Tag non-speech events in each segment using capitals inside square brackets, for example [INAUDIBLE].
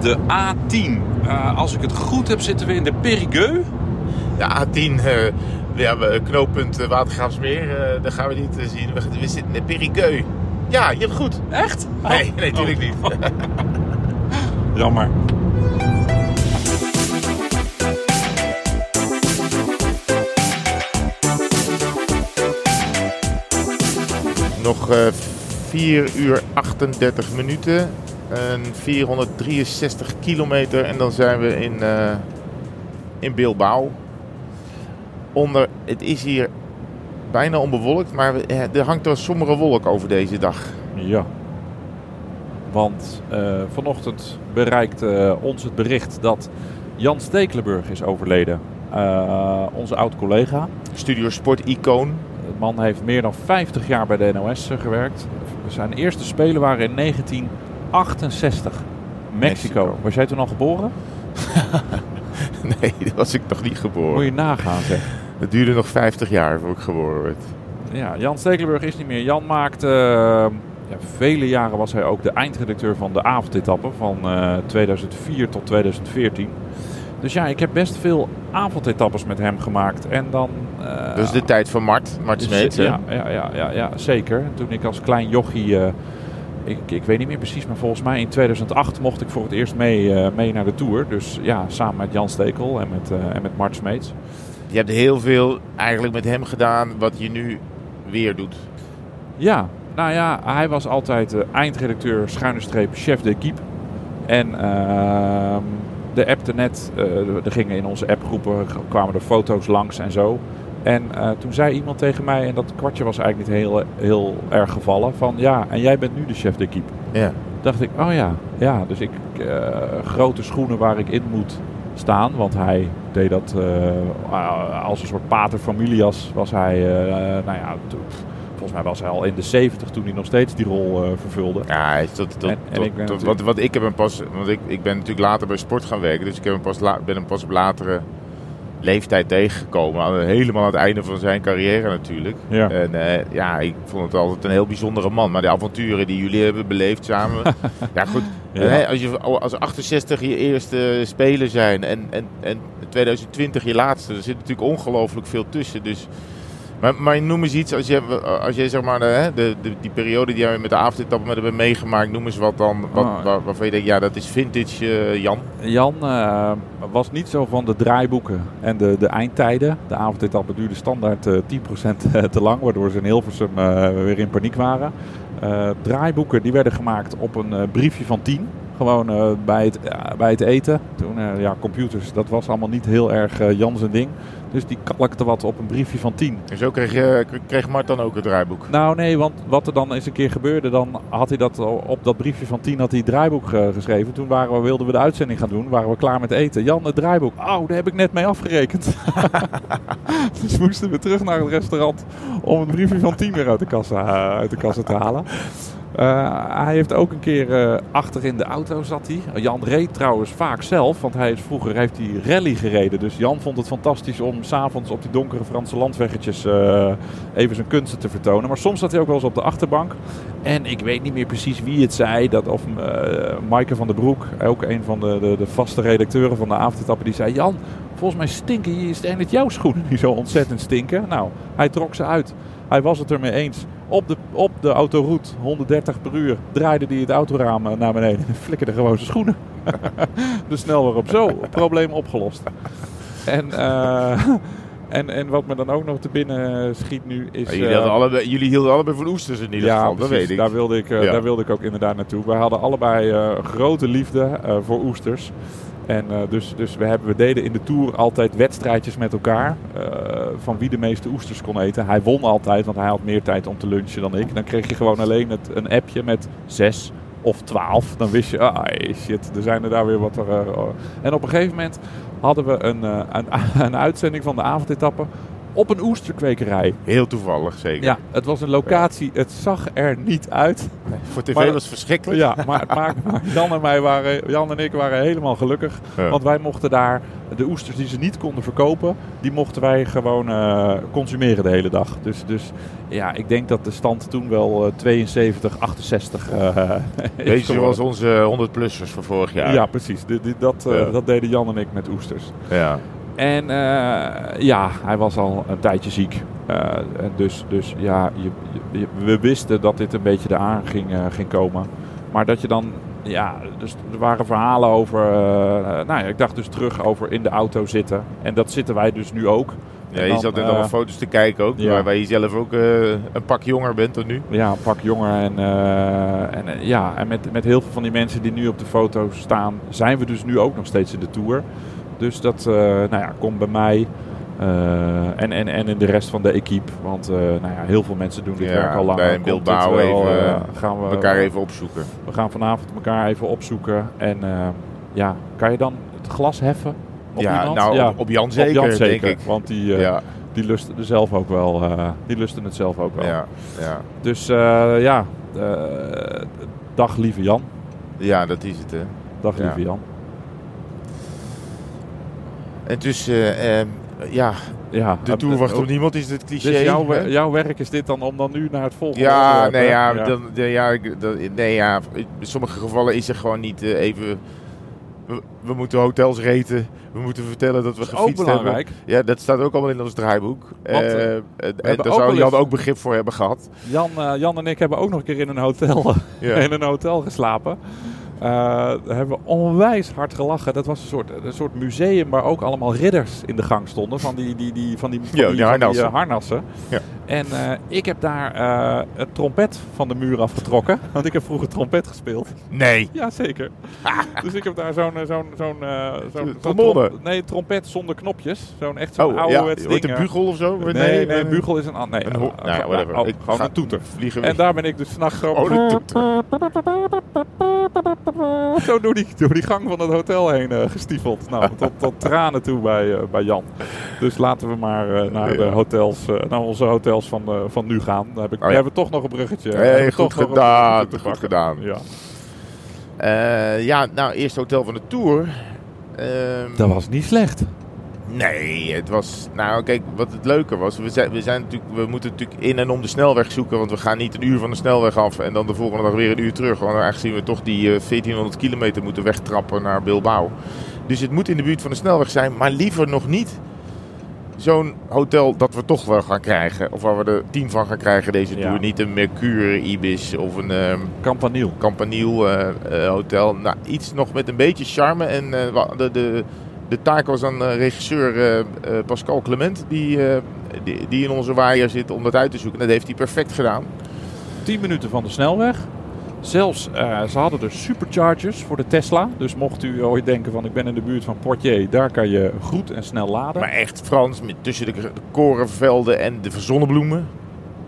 de A10. Eh, als ik het goed heb, zitten we in de Périgueux. De A10, eh, we hebben knooppunt eh, Watergraafsmeer. eh, daar gaan we niet eh, zien. We, we zitten in de Périgueux. Ja, je hebt goed. Echt? Nee, Oh. nee, natuurlijk Oh. niet. Jammer. [LAUGHS] Nog eh 4 uur 38 minuten. En 463 kilometer. En dan zijn we in, eh, in Bilbao. Onder, het is hier bijna onbewolkt, maar we- eh, er hangt een sombere wolk over deze dag. Ja. Want eh, vanochtend bereikt eh, ons het bericht dat Jan Stekelenburg is overleden. Eh, onze oud-collega. Studio Sport Icoon. [LAUGHS] De man heeft meer dan 50 jaar bij de NOS gewerkt. Zijn eerste spelen waren in 1968. Mexico. Mexico. Was jij toen al geboren? Nee, dat was ik nog niet Moet geboren. je nagaan zeg. Het duurde nog 50 jaar voor ik geboren werd. Ja, Jan Stekelenburg is niet meer. Jan maakte... ja, vele jaren was hij ook de eindredacteur van de avondetappe van eh, 2004 tot 2014. Dus ja, ik heb best veel avondetappes met hem gemaakt. En dan... eh, Dat is de tijd van Mart, Mart Dus, Smeets. hè? ja, ja, ja, ja, ja, zeker. Toen ik als klein jochie, eh, ik, ik weet niet meer precies, maar volgens mij in 2008 mocht ik voor het eerst mee, eh, mee naar de Tour. Dus ja, samen met Jan Stekel en met, eh, en met Mart Smeets. Je hebt heel veel eigenlijk met hem gedaan wat je nu weer doet. Ja, nou ja, hij was altijd eh, eindredacteur, schuine streep, chef d'équipe. En ehm de appte net, eh, er gingen in onze appgroepen, g- kwamen er foto's langs en zo. En eh, toen zei iemand tegen mij, en dat kwartje was eigenlijk niet heel, heel erg gevallen, van ja, en jij bent nu de chef d'équipe. Ja. dacht ik, oh ja, ja. Dus ik, eh, grote schoenen waar ik in moet staan. Want hij deed dat eh, als een soort pater familias. Was hij, eh, nou ja, to- volgens mij was hij al in de 70 toen hij nog steeds die rol eh, vervulde. Ja, hij is tot, tot, En- en tot- ik ben tot- natuurlijk- wat, wat ik heb hem pas, want ik, ik ben natuurlijk later bij sport gaan werken, dus ik heb hem pas, la- ben hem pas op latere leeftijd tegengekomen. Aan- Helemaal aan het einde van zijn carrière natuurlijk. Ja. En eh, ja, ik vond het altijd een heel bijzondere man. Maar de avonturen die jullie hebben [LAUGHS] beleefd samen. ja, goed. Ja. Hè, als je als 68 je eerste speler zijn en, en, en 2020 je laatste, er zit natuurlijk ongelooflijk veel tussen. Dus. Maar, maar noem eens iets, als jij, als jij zeg maar, de, hè, de, de- die periode die jij met de avondetappen met hebben meegemaakt, noem eens wat dan, wat, Oh. waar- waarvan je denkt, ja, dat is vintage eh, Jan. Jan eh, was niet zo van de draaiboeken en de, de eindtijden. De avondetappe duurde standaard [LAUGHS] eh, 10% te lang, waardoor ze in Hilversum eh, weer in paniek waren. Eh, draaiboeken die werden gemaakt op een eh, briefje van 10. Gewoon eh, bij, het, ja, bij het eten. Toen, eh, ja, computers, dat was allemaal niet heel erg eh Jan zijn ding. Dus die kalkte wat op een briefje van 10. En zo kreeg, je- kreeg Mart dan ook het draaiboek. Nou nee, want wat er dan eens een keer gebeurde, dan had hij dat op dat briefje van 10 had hij het draaiboek eh, geschreven. Toen waren we, wilden we de uitzending gaan doen, waren we klaar met eten. Jan, het draaiboek. Oh, daar heb ik net mee afgerekend. dus moesten we terug naar het restaurant om het briefje van 10 weer uit de kassa, eh, uit de kassa te halen. Eh, hij heeft ook een keer eh, achter in de auto zat hij. Jan reed trouwens vaak zelf, want hij is vroeger heeft hij rally gereden. Dus Jan vond het fantastisch om s'avonds op die donkere Franse landweggetjes eh, even zijn kunsten te vertonen. Maar soms zat hij ook wel eens op de achterbank. En ik weet niet meer precies wie het zei. Dat of eh Maaike van der Broek, ook een van de, de, de vaste redacteuren van de avondetappen, die zei: Jan, volgens mij stinken hier- zijn het jouw schoenen die zo ontzettend stinken. Nou, hij trok ze uit. Hij was het ermee eens. Op de, op de autoroute, 130 per uur, draaide hij het autoraam eh, naar beneden en [LAUGHS] flikkerde gewoon zijn schoenen. de snelweg op. Zo, probleem opgelost. En, eh, [LAUGHS] en, en wat me dan ook nog te binnen schiet nu is... jullie, eh, hadden allebei, jullie hielden allebei van oesters in ieder geval, dat precies. weet ik. Daar wilde ik, eh, Ja. daar wilde ik ook inderdaad naartoe. We hadden allebei eh, grote liefde eh, voor oesters. En eh, dus, dus we, hebben, we deden in de Tour altijd wedstrijdjes met elkaar. eh, van wie de meeste oesters kon eten. Hij won altijd, want hij had meer tijd om te lunchen dan ik. Dan kreeg je gewoon alleen het, een appje met zes of twaalf. Dan wist je, ah shit, er zijn er daar weer wat. Er, [LAUGHS] eh, oh. en op een gegeven moment hadden we een, eh, een, een uitzending van de avondetappen op een oesterkwekerij. Heel toevallig zeker. Ja, het was een locatie, het zag er niet uit. Voor tv Maar- was het verschrikkelijk. Ja, maar het maakt- maar Jan en, mij waren, Jan en ik waren helemaal gelukkig. Ja. Want wij mochten daar de oesters die ze niet konden verkopen, die mochten wij gewoon eh, consumeren de hele dag. Dus, dus ja, ik denk dat de stand toen wel eh, 72, 68 eh [LAUGHS] is Deze geworden. was onze 100-plussers van vorig jaar. Ja, precies. Die- die- dat, eh, Ja. dat deden Jan en ik met oesters. Ja. En eh, ja, hij was al een tijdje ziek. Eh, en dus, dus ja, je, je- we wisten dat dit een beetje eraan ging, eh, ging komen. Maar dat je dan, ja, dus er waren verhalen over. eh, nou ja, ik dacht dus terug over in de auto zitten. En dat zitten wij dus nu ook. Ja, En je dan, zat net eh, allemaal foto's te kijken ook, ja. waar waar je zelf ook eh, een pak jonger bent dan nu. Ja, een pak jonger. En, eh, en eh, ja, en met, met heel veel van die mensen die nu op de foto staan, zijn we dus nu ook nog steeds in de Tour. Dus dat eh, nou ja, komt bij mij eh, en, en, en in de rest van de equipe. Want eh, nou ja, heel veel mensen doen dit Ja, werk al lang. bij Dan komt Bilbao het wel, even, eh, gaan we, Elkaar even opzoeken. we gaan vanavond elkaar even opzoeken. En eh, ja, kan je dan het glas heffen? Op ja, iemand? nou, ja, op, op Jan zeker, Jan zeker, denk ik. Want die, eh, Ja, die, lusten er zelf ook wel, eh, die lusten het zelf ook wel. ja, ja. Dus eh, ja, eh, dag lieve Jan. ja, dat is het hè. Dag Ja. lieve Jan. En dus, eh, eh, ja, Ja, de eh, Tour eh, wacht oh, op niemand is het cliché. Dus jouw, hè? wer- jouw werk is dit dan om dan nu naar het volgende Ja, onderwerp, nee, hè? ja, Dan, de- ja, ik- dat- nee, ja, in sommige gevallen is er gewoon niet eh, even... We, we moeten hotels reten, we moeten vertellen dat we Dat is ook gefietst hebben. belangrijk. Ja, dat staat ook allemaal in ons draaiboek. Want, Eh, eh, en- en hebben daar ook wel zou Jan eens- ook begrip voor hebben gehad. Jan, eh, Jan en ik hebben ook nog een keer in een hotel, [LAUGHS] Ja. in een hotel geslapen. Eh, we hebben onwijs hard gelachen. Dat was een soort, een soort museum waar ook allemaal ridders in de gang stonden. Van die, die, die, van die, van Ja, die, die van harnassen. eh, harnassen. Ja. En eh, ik heb daar eh, het trompet van de muur afgetrokken. [LAUGHS] Want ik heb vroeger trompet gespeeld. Nee. Ja, [LAUGHS] zeker. dus ik heb daar zo'n... eh, zo'n zo'n eh, zo'n- zo'n Trombone. trom- nee, trompet zonder knopjes. Zo'n echt zo'n Oh, ja. ouderwets Wordt ding. een eh. bugel of zo? Nee, nee, een- bugel is een... an- Nee, Een ho- eh, nou, ja, eh, whatever. oh, Ik gewoon ga een toeter. Vliegen weg. En daar ben ik dus s'nachts zo... [LAUGHS] [LAUGHS] Oh, de toeter. zo door die, door die gang van het hotel heen eh, gestiefeld. [LAUGHS] Nou, tot, tot tranen toe bij, eh, bij Jan. Dus laten we maar eh, naar, de Ja. Oh, hotels, eh, naar onze hotels van, eh, van nu gaan. Dan heb ik, ja. We hebben toch nog een bruggetje. Hey, Hebben we goed toch nog een bruggetje gedaan, te goed pakken. gedaan. Ja. Eh, ja, nou, eerste hotel van de Tour. Ehm, Dat was niet slecht. Nee, het was... Nou, kijk, wat het leuke was... We, zijn, we, zijn natuurlijk, we moeten natuurlijk in en om de snelweg zoeken... want we gaan niet een uur van de snelweg af... en dan de volgende dag weer een uur terug. Want aangezien we toch die eh, 1400 kilometer moeten wegtrappen naar Bilbao. Dus het moet in de buurt van de snelweg zijn... maar liever nog niet zo'n hotel dat we toch wel gaan krijgen... of waar we er tien van gaan krijgen deze Ja. Tour. Niet een Mercure Ibis of een... ehm, Campaniel. Campaniel eh, eh, Hotel. Nou, iets nog met een beetje charme. En eh, wa- de, de, de taak was aan eh, regisseur eh, eh, Pascal Clement, die, eh, die, die in onze waaier zit, om dat uit te zoeken. Dat heeft hij perfect gedaan. 10 minuten van de snelweg. Zelfs, eh, ze hadden er superchargers voor de Tesla. Dus mocht u ooit denken van ik ben in de buurt van Portier, daar kan je goed en snel laden. Maar echt Frans, met tussen de k- korenvelden en de zonnebloemen.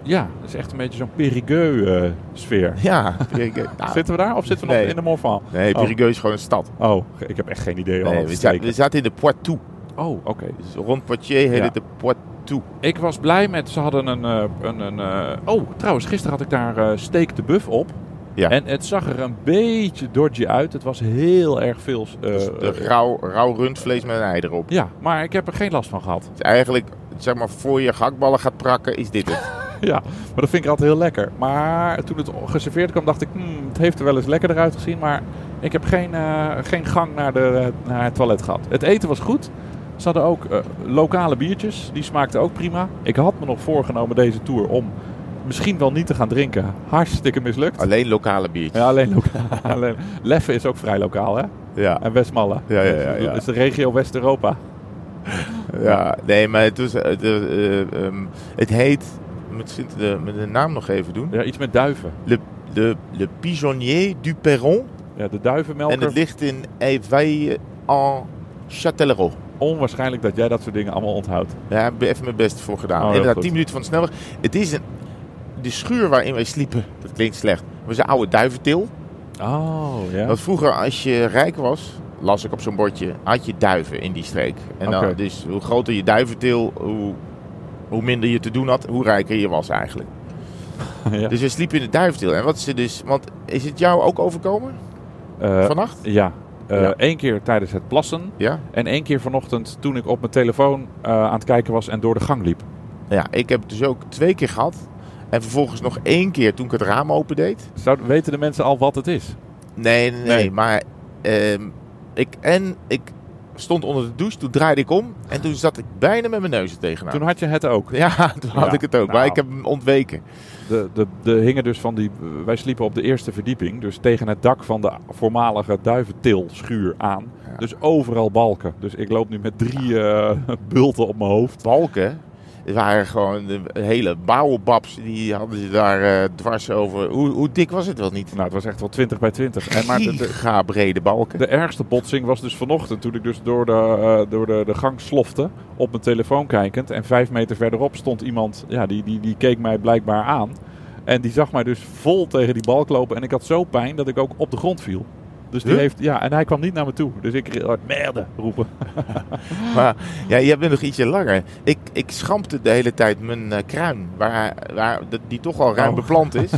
Ja, dat is echt een beetje zo'n Périgueux eh, sfeer. Ja, Périgueux. Nou, Zitten we daar of zitten we nog Nee. in de Morvan? nee, Périgueux is gewoon een stad. Oh, ge- ik heb echt geen idee waar Nee, het we, we zaten, we zaten in de Poitou. Oh, oké. Dus rond Poitiers heet Ja. het de Poitou. Ik was blij met, ze hadden een... eh, een, een eh, oh, trouwens, gisteren had ik daar eh, steak de buff op. Ja. En het zag er een beetje dodgy uit. Het was heel erg veel... eh, Dus de rauw, rauw rundvlees met een ei erop. ja, maar ik heb er geen last van gehad. Dus eigenlijk, zeg maar, voor je gehaktballen gaat prakken, is dit het. Ja, maar dat vind ik altijd heel lekker. Maar toen het geserveerd kwam, dacht ik, hmm, het heeft er wel eens lekkerder uitgezien. Maar ik heb geen, eh, geen gang naar, de, eh, naar het toilet gehad. Het eten was goed. Ze hadden ook eh, lokale biertjes. Die smaakten ook prima. Ik had me nog voorgenomen deze tour om misschien wel niet te gaan drinken. Hartstikke mislukt. Alleen lokale biertjes. Ja, alleen lokaal. [LAUGHS] alleen. Leffe is ook vrij lokaal, hè? Ja, En Westmalle. Ja, ja, ja, ja. Dat is de regio West-Europa. ja. nee, maar het, was, het, eh, ehm, het heet, ik moet Sint- de, met de naam nog even doen, Ja, iets met duiven. Le, Le, Le Pigeonnier du Perron. Ja, de duivenmelker. En het ligt in Eveille en Châtellerault. Onwaarschijnlijk dat jij dat soort dingen allemaal onthoudt. Daar heb ik even mijn best voor gedaan. Oh, heel Inderdaad, goed. 10 minuten van de snelweg. Het is een, de schuur waarin wij sliepen, dat klinkt slecht, was een oude duiventil. Oh, ja. Want vroeger, als je rijk was, las ik op zo'n bordje, had je duiven in die streek. En dan, Oké. dus hoe groter je duiventil, hoe hoe minder je te doen had, hoe rijker je was eigenlijk. [LAUGHS] ja. Dus we sliepen in het duifdeel. En wat is er dus... Want is het jou ook overkomen Eh, vannacht? ja. Eh, Ja. één keer tijdens het plassen. Ja? En één keer vanochtend toen ik op mijn telefoon eh, aan het kijken was en door de gang liep. Ja, ik heb het dus ook twee keer gehad. En vervolgens nog één keer toen ik het raam opendeed. Zou, weten de mensen al wat het is? Nee, nee, nee. Nee. Maar ehm, ik... En ik stond onder de douche. Toen draaide ik om. En toen zat ik bijna met mijn neus er tegenaan. Toen had je het ook. [LAUGHS] Ja, toen had Ja, ik het ook. Maar nou. ik heb hem ontweken. De, de, de hingen dus van die. Wij sliepen op de eerste verdieping, dus tegen het dak van de voormalige duiventilschuur aan. Ja. Dus overal balken. Dus ik loop nu met drie eh, [LAUGHS] bulten op mijn hoofd. balken het waren gewoon de hele bouwenbabs. Die hadden ze daar eh, dwars over. Hoe, hoe dik was het wel niet? Nou, het was echt wel 20 bij 20. En maar de, de, Giga brede balken. de ergste botsing was dus vanochtend toen ik dus door de, eh, door de, de gang slofte op mijn telefoon kijkend. En vijf meter verderop stond iemand, ja, die, die, die keek mij blijkbaar aan. En die zag mij dus vol tegen die balk lopen. En ik had zo pijn dat ik ook op de grond viel. Dus die Huh? heeft, ja, en hij kwam niet naar me toe. Dus ik hoorde merde roepen. Ah. Maar ja, jij bent nog ietsje langer. Ik, ik schampte de hele tijd mijn eh, kruin. Waar, waar, dat- die toch al ruim Oh. beplant [LAUGHS] is.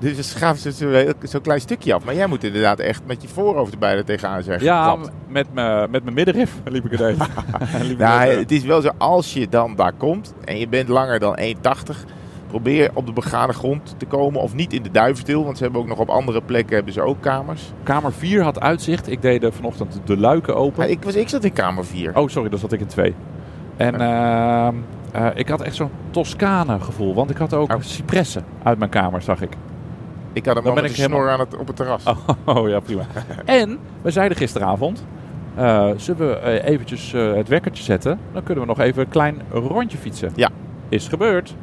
Dus dan schaaft ze zo'n heel- zo'n klein stukje af. Maar jij moet inderdaad echt met je voorhoofd er bijna tegenaan zijn Ja, geklapt. met mijn met mijn middenrif liep [LAUGHS] ik het even. Liep ik Nou, het, eh, het is wel zo, als je dan daar komt en je bent langer dan 1,80, probeer op de begane grond te komen. Of niet in de duiventil, want ze hebben ook nog op andere plekken hebben ze ook kamers. Kamer 4 had uitzicht. Ik deed eh, vanochtend de luiken open. Maar ik, was, ik zat in kamer 4. Oh, sorry, dan zat ik in 2. En ehm, eh, ik had echt zo'n Toscane gevoel. Want ik had ook Oh. cipressen uit mijn kamer, zag ik. ik had hem dan al met ben een ik snor helemaal- aan het, op het terras. [LAUGHS] Oh, ja, prima. en we zeiden gisteravond... eh, zullen we eh, eventjes eh, het wekkertje zetten? Dan kunnen we nog even een klein rondje fietsen. Ja. Is gebeurd.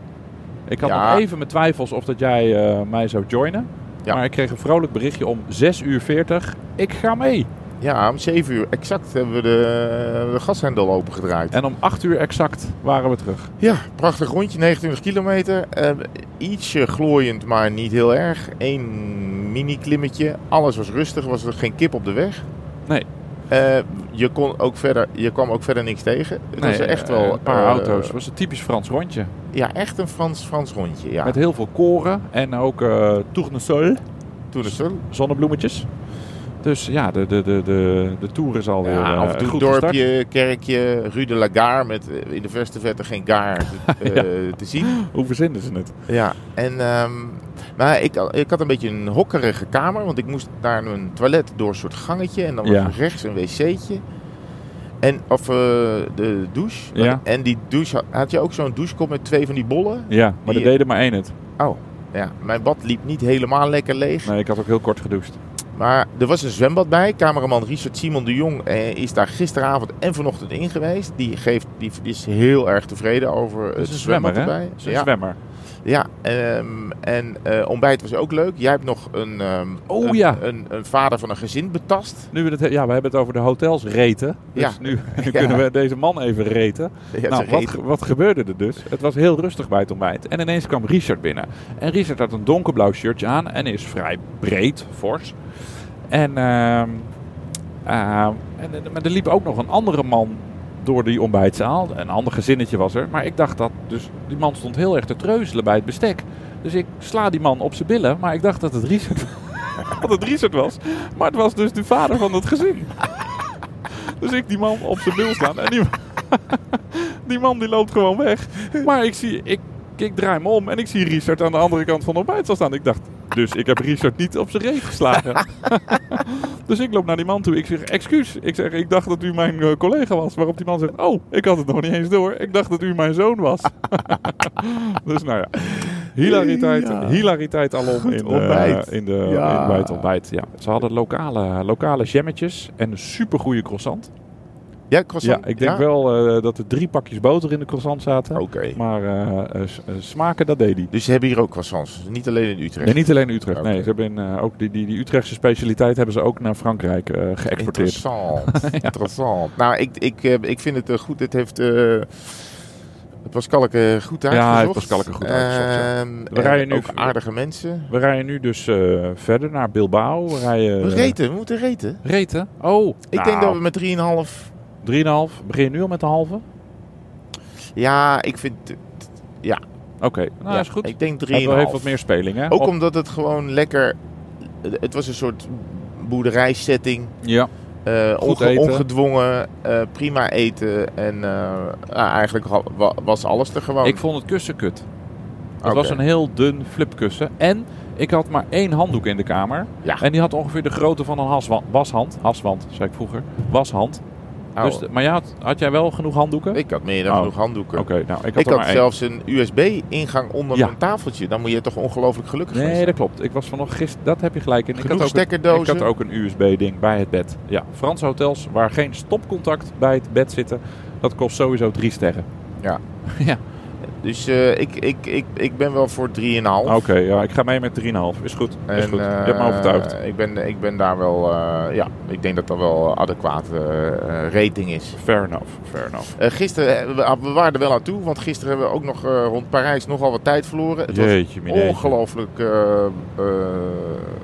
Ik had Ja. nog even mijn twijfels of dat jij eh, mij zou joinen. Ja. Maar ik kreeg een vrolijk berichtje om 6 uur 40. Ik ga mee. Ja, om 7 uur exact hebben we de, de gashendel opengedraaid. En om 8 uur exact waren we terug. Ja, prachtig rondje, 29 kilometer. Eh, ietsje glooiend, maar niet heel erg. Eén mini-klimmetje. Alles was rustig, was er geen kip op de weg. Nee. Eh, je, kon ook verder, je kwam ook verder niks tegen. Het was Nee, echt eh, wel... Een paar eh, auto's. Het was een typisch Frans rondje. Ja, echt een Frans, Frans rondje. Ja. Met heel veel koren en ook eh tournesol, toen het zo. zonnebloemetjes. Dus ja, de, de, de, de, de tour is alweer Ja, eh, af en toe goed dorpje, gestart. kerkje, Rue de la Gare met eh, in de verste verte geen gaar [LAUGHS] te, eh, te zien. Hoe verzinnen ze het? Ja, en ehm, maar ik, had- ik had een beetje een hokkerige kamer, want ik moest naar een toilet door een soort gangetje en dan was Ja. er rechts een wc'tje. En, of eh, de douche. Ja. En die douche, had, had je ook zo'n douchekop met twee van die bollen? Ja, maar Die- er deden maar één het. Oh, ja. Mijn bad liep niet helemaal lekker leeg. Nee, ik had ook heel kort gedoucht. Maar er was een zwembad bij. Cameraman Richard Simon de Jong eh, is daar gisteravond en vanochtend in geweest. Die, geeft, die is heel erg tevreden over Dat het is een zwembad zwemmer, hè? erbij. Dat is een ja, zwemmer. ja, ehm, en eh, ontbijt was ook leuk. Jij hebt nog een, ehm, Oh, een, ja. een, een vader van een gezin betast. Nu we, het, he- ja, we hebben het over de hotels reten. Dus [LAUGHS] Ja. nu kunnen we deze man even reten. Ja, nou, ze wat, heet- ge- wat gebeurde er dus? Het was heel rustig bij het ontbijt. En ineens kwam Richard binnen. En Richard had een donkerblauw shirtje aan en is vrij breed, fors. En, ehm, ehm, en eh, maar er liep ook nog een andere man door die ontbijtzaal. Een ander gezinnetje was er. Maar ik dacht dat dus die man stond heel erg te treuzelen bij het bestek. Dus ik sla die man op zijn billen. Maar ik dacht dat het Richard, [LAUGHS] dat het Richard was. Maar het was dus de vader van het gezin. Dus ik die man [LAUGHS] op zijn bil slaan. En die, die man die loopt gewoon weg. Maar ik zie, ik, ik draai me om en ik zie Richard aan de andere kant van de ontbijtzaal staan. Ik dacht, dus ik heb Richard niet op zijn reet [LAUGHS] geslagen. dus ik loop naar die man toe. Ik zeg, excuus. Ik zeg, ik dacht dat u mijn eh, collega was. Waarop die man zegt, oh, ik had het nog niet eens door. Ik dacht dat u mijn zoon was. [LAUGHS] dus nou ja. Hilariteit, Ja. hilariteit alom in, de- ontbijt. in de, Ja. in- bij het ontbijt. Ja. Ze hadden lokale, lokale jammetjes en een supergoeie croissant. Ja, Oh. croissant? Ja, ik denk wel eh, dat er drie pakjes boter in de croissant zaten. Oké. Maar eh, eh, s- eh, smaken, dat deed hij. Dus ze hebben hier ook croissants. Dus Niet alleen in Utrecht. Nee, niet alleen in Utrecht. Oké. Nee, ze hebben in, eh, ook die, die, die Utrechtse specialiteit hebben ze ook naar Frankrijk eh, geëxporteerd. Interessant. [LAUGHS] Interessant. Nou, ik, ik, eh, ik vind het eh, goed. Het heeft... eh Pascalke goed uitgezocht. Ja, heeft Pascalke goed uitgezocht, ja. Ehm, We rijden en nu- ook aardige mensen. We rijden nu dus eh, verder naar Bilbao. We rijden... eh, We reten, we moeten reten. Reten? Oh, Ik denk dat we met 3,5... we... 3,5. Begin je nu al met de halve? Ja, ik vind... t- t- Ja. Oké, nou ja, is goed. Ik denk 3,5. Hij heeft wat meer speling, hè? Ook Op- omdat het gewoon lekker... Het was een soort boerderijsetting. Ja, Eh, Goed onge- eten. Ongedwongen, eh, prima eten. En eh, nou, eigenlijk ha- wa- was alles er gewoon. ik vond het kussen kut. Het Oké. was een heel dun flipkussen. En ik had maar één handdoek in de kamer. Ja. En die had ongeveer de grootte van een haswa- washand. Haswand, zei ik vroeger. Washand. Oh, Dus, de- maar jij had, had jij wel genoeg handdoeken? ik had meer dan Oh. genoeg handdoeken. Oké, nou, ik had Ik er had maar één. zelfs een USB-ingang onder Ja. mijn tafeltje. Dan moet je toch ongelooflijk gelukkig zijn. Nee, dat klopt. Ik was vanochtend gisteren... Dat heb je gelijk. En ik Genoeg had ook een- stekkerdozen. Ik had ook een USB-ding bij het bed. Ja, Franse hotels waar geen stopcontact bij het bed zitten, dat kost sowieso drie sterren. Ja. ja. Dus eh, ik, ik, ik, ik ben wel voor 3,5. Oké, ja, ik ga mee met 3,5. Is goed. Is goed. je hebt me eh, overtuigd. ik, ben, ik ben daar wel... eh, ja, ik denk dat dat wel adequaat eh, eh, rating is. Fair enough. Fair enough. Eh, gisteren, eh, we, we waren er wel aan toe. Want gisteren hebben we ook nog eh, rond Parijs nogal wat tijd verloren. Het Jeetje, was mineetje. ongelooflijk... eh, eh,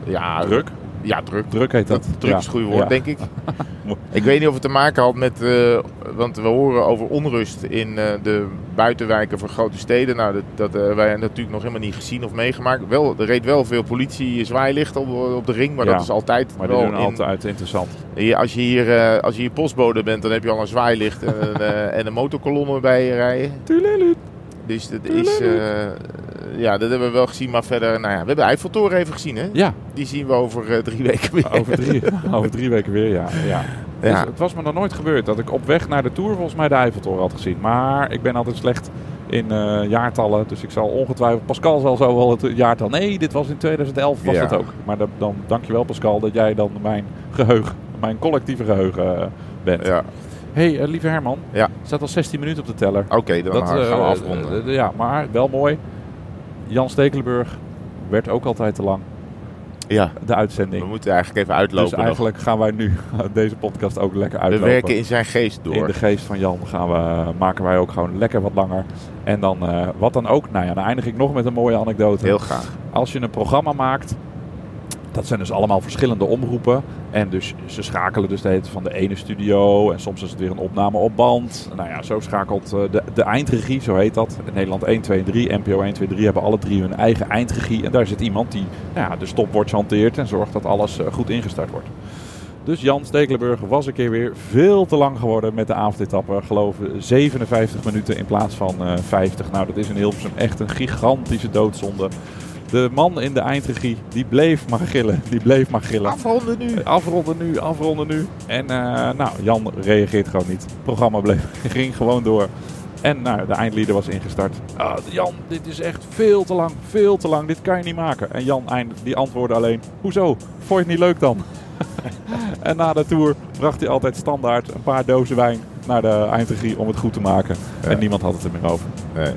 ja, Druk. Ja, druk. Druk heet dat. Dat druk Ja. is het goede woord, Ja. denk [LAUGHS] ik. ik weet niet of het te maken had met... eh, want we horen over onrust in eh, de buitenwijken voor grote steden. Nou, dat, dat eh, wij natuurlijk nog helemaal niet gezien of meegemaakt. Wel, er reed wel veel politie zwaailicht op, op de ring. Maar Ja, dat is altijd Maar die wel doen in- altijd interessant. hier- als, je hier, eh, als je hier postbode bent, dan heb je al een zwaailicht en, [LAUGHS] een, eh, en een motorkolonne bij je rijden. Dus dat is... eh, ja, dat hebben we wel gezien. Maar verder, nou ja, we hebben Eiffeltoren even gezien, hè? Ja, Die zien we over eh, drie weken weer. over [LAUGHS] drie, over drie weken weer, ja. ja. Dus Ja. het was me nog nooit gebeurd dat ik op weg naar de Tour volgens mij de Eiffeltoren had gezien. Maar ik ben altijd slecht in eh, jaartallen, dus ik zal ongetwijfeld... Pascal zal zo wel het jaartal... Nee, dit was in 2011, was Ja. dat ook. Maar dat, dan dankjewel Pascal dat jij dan mijn geheugen, mijn collectieve geheugen eh, bent. Ja, hey, eh, lieve Herman. Ja. Er staat al 16 minuten op de teller. oké, dan gaan we eh, afronden. eh, eh, ja, maar wel mooi. Jan Stekelenburg werd ook altijd te lang, ja, de we uitzending. moeten eigenlijk even uitlopen. dus nog. eigenlijk gaan wij nu [LAUGHS] deze podcast ook lekker We uitlopen. werken in zijn geest door. In de geest van Jan gaan we, maken wij ook gewoon lekker wat langer. En dan, eh, wat dan ook, nou ja, dan eindig ik nog met een mooie anekdote. Heel graag. Als je een programma maakt, dat zijn dus allemaal verschillende omroepen. En dus ze schakelen dus de hele tijd van de ene studio. En soms is het weer een opname op band. Nou ja, zo schakelt eh, de, de eindregie, zo heet dat. In Nederland 1, 2 en 3, NPO 1, 2 3 hebben alle drie hun eigen eindregie. En daar zit iemand die nou ja, de stopwatch hanteert en zorgt dat alles eh, goed ingestart wordt. Dus Jan Stekelenburg was een keer weer veel te lang geworden met de avondetappe. Geloof ik, 57 minuten in plaats van eh, 50. Nou, dat is in Hilversum echt een gigantische doodzonde. De man in de eindregie, die bleef maar gillen. Die bleef maar gillen. Afronden nu. Afronden nu, afronden nu. En eh, nou, Jan reageert gewoon niet. Het programma bleef, [LAUGHS] ging gewoon door. En nou, de eindlieder was ingestart. Ah, Jan, dit is echt veel te lang, veel te lang. Dit kan je niet maken. En Jan eind, die antwoordde alleen, hoezo? Vond je het niet leuk dan? [LAUGHS] en na de tour bracht hij altijd standaard een paar dozen wijn naar de eindregie om het goed te maken. Ja. En niemand had het er meer over. Nee.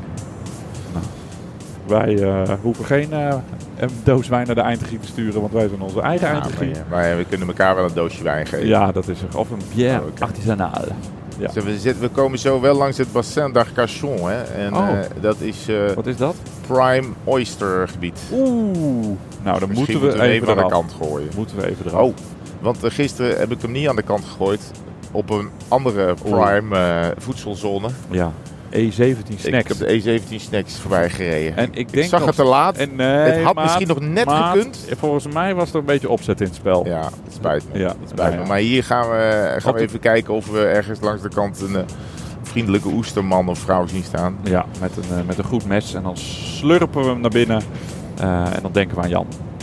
Wij eh, hoeven geen eh, een doos wijn naar de eindregie te sturen, want wij zijn onze eigen Ja, Nou, maar, eindregie. ja, maar ja, we kunnen elkaar wel een doosje wijn geven. Ja, dat is er. Of een bière Oh, oké. artisanale. Ja. Zeg, we, zitten, we komen zo wel langs het bassin d'Arcachon. Hè? En Oh. eh, dat is eh, Wat is dat? prime oyster gebied. Oeh. Nou, dan Misschien moeten we, even aan de eraf. kant gooien. Moeten we even eraf. Oh, want eh, gisteren heb ik hem niet aan de kant gegooid. Op een andere prime eh, voedselzone. Ja. E17 Ik snacks. heb de E17 snacks voorbij gereden. en ik denk ik zag nog- het te laat. En nee, het had maat, misschien nog net maat, gekund. Volgens mij was er een beetje opzet in het spel. Ja, het spijt me. Ja, het spijt nou me. ja. Maar hier gaan we, eh, gaan Op we de- even kijken of we ergens langs de kant een eh, vriendelijke oesterman of vrouw zien staan. Ja, met, een, eh, met een goed mes. En dan slurpen we hem naar binnen. Eh, en dan denken we aan Jan.